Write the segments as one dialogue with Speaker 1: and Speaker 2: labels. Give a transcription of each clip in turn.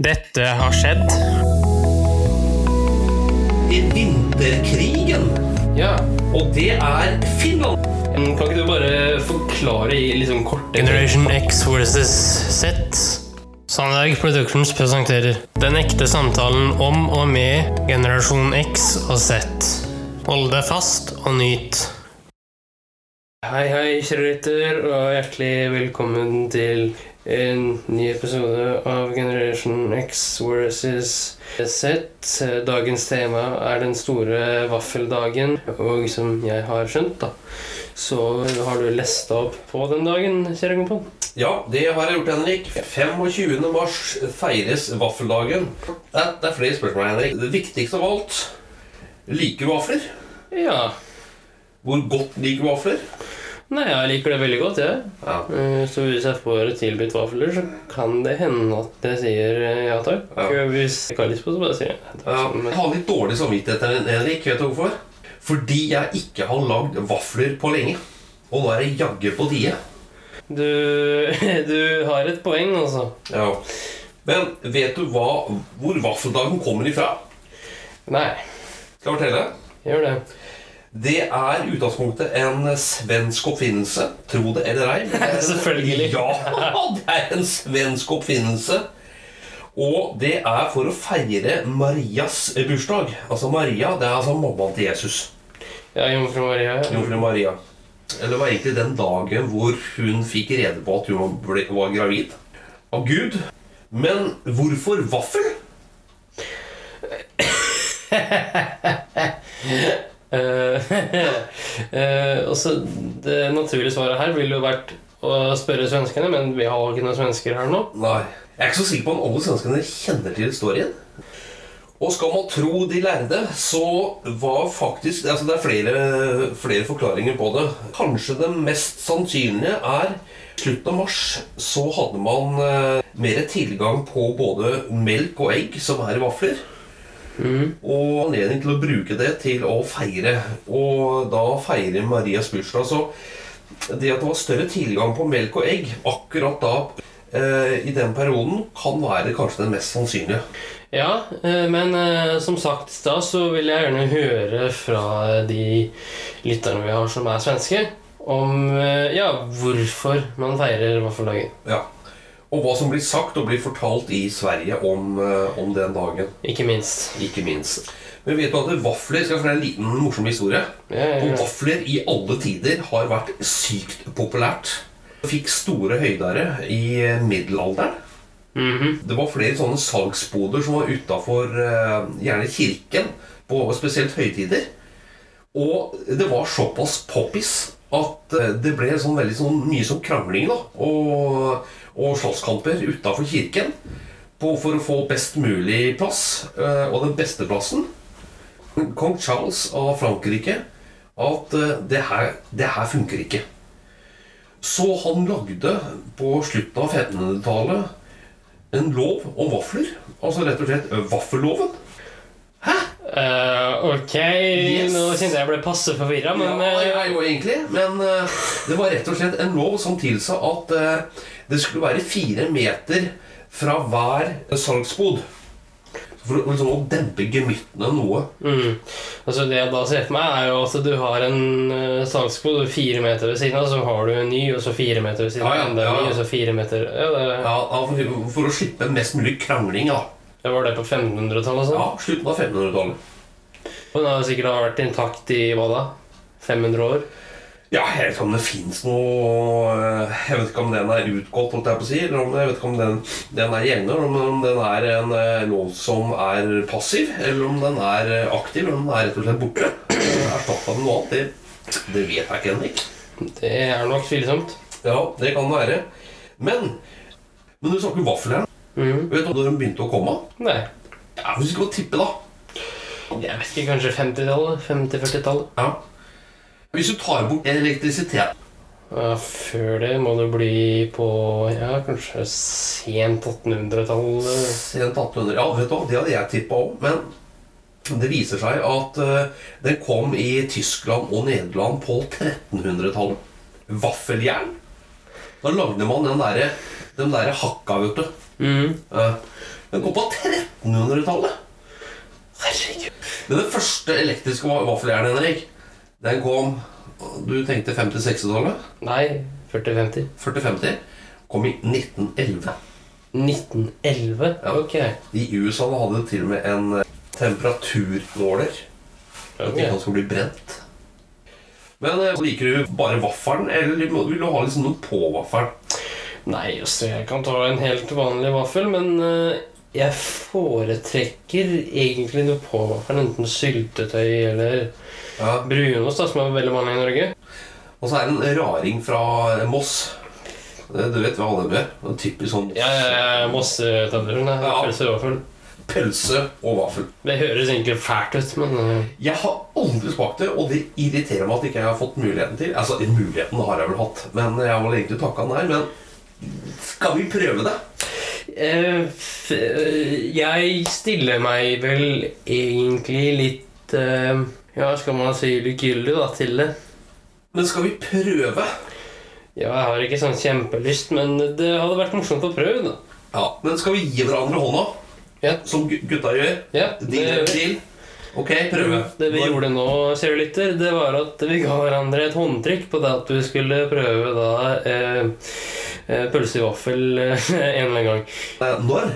Speaker 1: Dette har skjedd.
Speaker 2: vinterkrigen.
Speaker 3: Ja.
Speaker 2: Og det er Finland.
Speaker 3: Men Kan ikke du bare forklare i litt sånn korte
Speaker 1: Generation X versus Z. Sandberg Productions presenterer Den ekte samtalen om og med generasjon X og Z. Hold deg fast og nyt.
Speaker 3: Hei, hei, kjære lytter, og hjertelig velkommen til en ny episode av Generation X versus Z. Dagens tema er den store vaffeldagen, og som jeg har skjønt, da, så har du lesta opp på den dagen, kjære kompon.
Speaker 2: Ja, det har jeg gjort, Henrik. 25. mars feires vaffeldagen. Det er, det er flere spørsmål, Henrik. Det viktigste av alt Liker du vafler?
Speaker 3: Ja.
Speaker 2: Hvor godt liker du vafler?
Speaker 3: Nei, jeg liker det veldig godt, jeg.
Speaker 2: Ja.
Speaker 3: Eh, Så hvis jeg får tilbudt vafler, så kan det hende at jeg sier eh, ja takk.
Speaker 2: Ja.
Speaker 3: Hvis jeg ikke har lyst på det, så bare sier jeg nei
Speaker 2: Ja,
Speaker 3: takk.
Speaker 2: Jeg
Speaker 3: Men-
Speaker 2: har litt dårlig samvittighet, Hen- Henrik. Vet du hvorfor? Fordi jeg ikke har lagd vafler på lenge. Og nå er det jaggu på tide.
Speaker 3: Du, du har et poeng, altså.
Speaker 2: Ja. Men vet du hva, hvor vaffeldagen kommer ifra?
Speaker 3: Nei,
Speaker 2: Skal jeg fortelle?
Speaker 3: gjør det.
Speaker 2: Det er i utgangspunktet en svensk oppfinnelse. Tro det eller ei. men det er en-
Speaker 3: Selvfølgelig.
Speaker 2: Ja, det er en svensk oppfinnelse. Og det er for å feire Marias bursdag. Altså Maria, det er altså mammaen til Jesus.
Speaker 3: Ja, Jomfru Maria. ja.
Speaker 2: Jomfru Maria. Eller det var egentlig den dagen hvor hun fikk rede på at hun ble, var gravid. Av Gud. Men hvorfor vaffel?
Speaker 3: Eh, eh, og så det naturlige svaret her ville jo vært å spørre svenskene, men vi har jo ikke noen svensker her nå.
Speaker 2: Nei. Jeg er ikke så sikker på om alle svenskene kjenner til historien. Og skal man tro de lærde, så var faktisk altså Det er flere, flere forklaringer på det. Kanskje det mest sannsynlige er slutten av mars så hadde man eh, mer tilgang på både melk og egg, som er i vafler. Og anledning til å bruke det til å feire. Og da feire Marias bursdag. Så det at det var større tilgang på melk og egg akkurat da, eh, i den perioden, kan være kanskje den mest sannsynlige.
Speaker 3: Ja, eh, men eh, som sagt i stad, så vil jeg gjerne høre fra de lytterne vi har som er svenske, om eh, ja, hvorfor man feirer vaffeldagen.
Speaker 2: Ja. Og hva som blir sagt og blir fortalt i Sverige om, eh, om den dagen,
Speaker 3: Ikke minst.
Speaker 2: ikke minst. Men vet du at vafler skal jeg fortelle en liten morsom historie?
Speaker 3: Ja,
Speaker 2: Og
Speaker 3: ja,
Speaker 2: vafler i alle tider har vært sykt populært. Fikk store høydere i middelalderen.
Speaker 3: Mhm.
Speaker 2: Det var flere sånne salgsboder som var utafor eh, gjerne kirken, på spesielt høytider. Og det var såpass poppis at eh, det ble sånn veldig sånn, mye sånn krangling da, og, og slåsskamper utafor kirken på, for å få best mulig plass, eh, og den beste plassen. Kong Charles av Frankrike at eh, det her, det her funker ikke. Så han lagde på slutten av 1500-tallet en lov om vafler. Altså rett og slett vaffelloven.
Speaker 3: Eh, ok,
Speaker 2: Yes.
Speaker 3: nå kjente jeg ble passe forvirra, men
Speaker 2: ja, jeg
Speaker 3: eh,
Speaker 2: er jo egentlig, men eh, det var rett og slett en lov som tilsa at eh, det skulle være fire meter fra hver salgsbod. For å- liksom, å dempe gemyttene noe.
Speaker 3: mm. altså, Det jeg da ser for meg, er jo at du har en uh, salgskode fire meter ved siden av, så har du en ny, og så fire meter ved siden av,
Speaker 2: Ja, ja,
Speaker 3: enda en
Speaker 2: ja.
Speaker 3: ny, og så fire meter ja, det,
Speaker 2: Ja, ja, for, for å slippe mest mulig krangling. da.
Speaker 3: det var det på 1500-tallet, altså.
Speaker 2: Ja, Slutten av 1500-tallet.
Speaker 3: Den har sikkert vært intakt i hva da? 500 år?
Speaker 2: Ja, jeg vet ikke om det fins noe eh, Jeg vet ikke om den er utgått, holdt jeg på å si. Eller om jeg vet ikke om den, den er gjeldende, eller om- om den er en eh, lov som er passiv, eller om den er eh, aktiv, eller om den er rett og slett borte. Erstatta med noe annet. Det, det vet jeg ikke, Henrik.
Speaker 3: Det er nok tvilsomt.
Speaker 2: Ja, det kan være. Men Men du snakker vaffel her.
Speaker 3: Mhm.
Speaker 2: Vet du når de begynte å komme?
Speaker 3: Nei.
Speaker 2: Ja, Hvis du skal tippe, da.
Speaker 3: Jeg vet ikke, kanskje 50-tallet? 50-40-tallet?
Speaker 2: Ja. Hvis du tar bort elektrisitet
Speaker 3: Ja, før det må det bli på ja, kanskje sent 1800-tallet.
Speaker 2: Sent 1800. eh, Ja, vet du hva, det hadde jeg tippa òg. Men det viser seg at eh, den kom i Tyskland og Nederland på 1300-tallet. Vaffeljern. Da lagde man den derre den der hakka, vet du.
Speaker 3: Mhm.
Speaker 2: Eh, Den kom på 1300-tallet. Herregud. Den første elektriske va- vaffeljernet, Henrik, den kom Du tenkte 50-60-tallet?
Speaker 3: Nei, 40-50.
Speaker 2: 40-50? Kom i 1911.
Speaker 3: 1911?
Speaker 2: Ja.
Speaker 3: Ok.
Speaker 2: I USA hadde de til og med en eh, temperaturmåler. At ikke
Speaker 3: Ok.
Speaker 2: han skulle bli brent. Men eh, liker du bare vaffelen, eller vil du ha liksom noe på vaffelen?
Speaker 3: Nei, just det. Jeg kan ta en helt vanlig vaffel, men eh, jeg foretrekker egentlig noe på vaffelen. Enten syltetøy eller
Speaker 2: Ja.
Speaker 3: brunost, da, som er veldig vanlig i Norge.
Speaker 2: Og så er det en raring fra Moss. Eh, Du vet hva han er med? En typisk sånn
Speaker 3: Ja, ja, ja, Mossetenderen. Ja.
Speaker 2: Ja.
Speaker 3: Pølse og vaffel.
Speaker 2: pølse og vaffel.
Speaker 3: Det høres egentlig fælt ut, men eh,
Speaker 2: Jeg har aldri smakt det, og det irriterer meg at ikke jeg har fått muligheten til. Altså, muligheten har jeg vel hatt, men jeg var egentlig takka nei. Men skal vi prøve det?
Speaker 3: eh, f- eh, Jeg stiller meg vel egentlig litt eh, Ja, skal man si likegyldig da, til det.
Speaker 2: Men skal vi prøve?
Speaker 3: Ja, jeg har ikke sånn kjempelyst, men det hadde vært morsomt å prøve, da.
Speaker 2: Ja. Men skal vi gi hverandre hånda?
Speaker 3: Ja.
Speaker 2: Som gu- gutta gjør?
Speaker 3: Ja, gjør
Speaker 2: Deal
Speaker 3: vi. Mm,
Speaker 2: eller deal? Ok, prøve.
Speaker 3: Det vi gjorde nå, kjære lytter, det var at vi ga hverandre et håndtrykk på det at vi skulle prøve da eh, eh, pølse i vaffel eh, en eller annen gang.
Speaker 2: Eh, Når?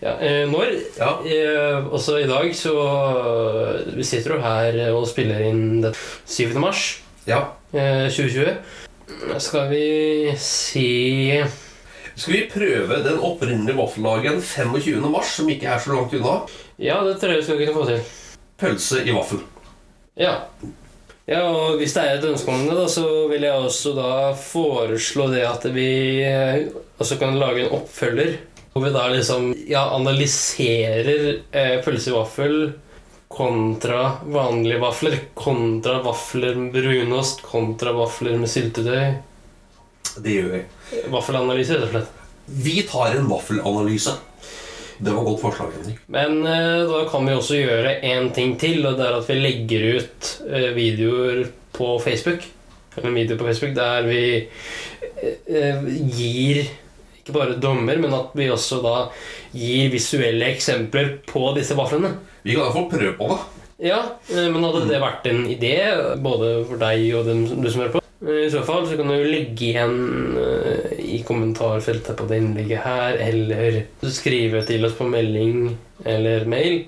Speaker 3: Ja, eh, når?
Speaker 2: Ja.
Speaker 3: Eh, også i dag så eh, Vi sitter jo her og spiller inn det 7. mars
Speaker 2: ja.
Speaker 3: eh, 2020. Skal vi si
Speaker 2: Skal vi prøve den opprinnelige vaffeldagen 25. mars, som ikke er så langt unna?
Speaker 3: Ja, det tror jeg vi skal kunne få til.
Speaker 2: Pølse i vaffel.
Speaker 3: Ja. ja, og hvis det er et ønske om det, da, så vil jeg også da foreslå det at vi eh, også kan lage en oppfølger. Hvor vi da liksom ja, analyserer eh, pølse i vaffel kontra vanlige vafler. Kontra vafler med brunost, kontra vafler med syltetøy.
Speaker 2: Det gjør vi.
Speaker 3: Vaffelanalyse, rett og slett.
Speaker 2: Vi tar en vaffelanalyse. Det var godt forslag. Henrik.
Speaker 3: Men eh, da kan vi også gjøre en ting til, og det er at vi legger ut eh, videoer på Facebook. Eller en video på Facebook der vi eh, eh, gir ikke bare dommer, men at vi også da gir visuelle eksempler på disse vaflene.
Speaker 2: Vi kan iallfall prøve på det.
Speaker 3: Ja, eh, men hadde det vært en idé, både for deg og dem som- du som hører på? eh, I så fall så kan du legge igjen eh, i kommentarfeltet på det innlegget her, eller skrive til oss på melding eller mail.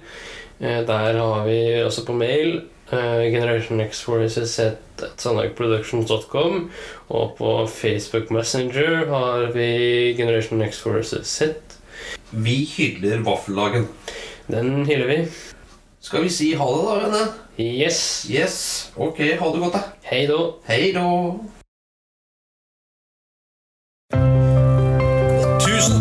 Speaker 3: Eh, Der har vi også på mail eh, Generation X Forces at sandhagproductions.com. Og på Facebook Messenger har vi Generation X Forces Z.
Speaker 2: Vi hyller vaffeldagen.
Speaker 3: Den hyller vi.
Speaker 2: Skal vi si ha det, da, venner?
Speaker 3: Yes.
Speaker 2: Yes. Ok, ha det godt, da.
Speaker 3: Hei da.
Speaker 2: Hei da.
Speaker 4: Tusen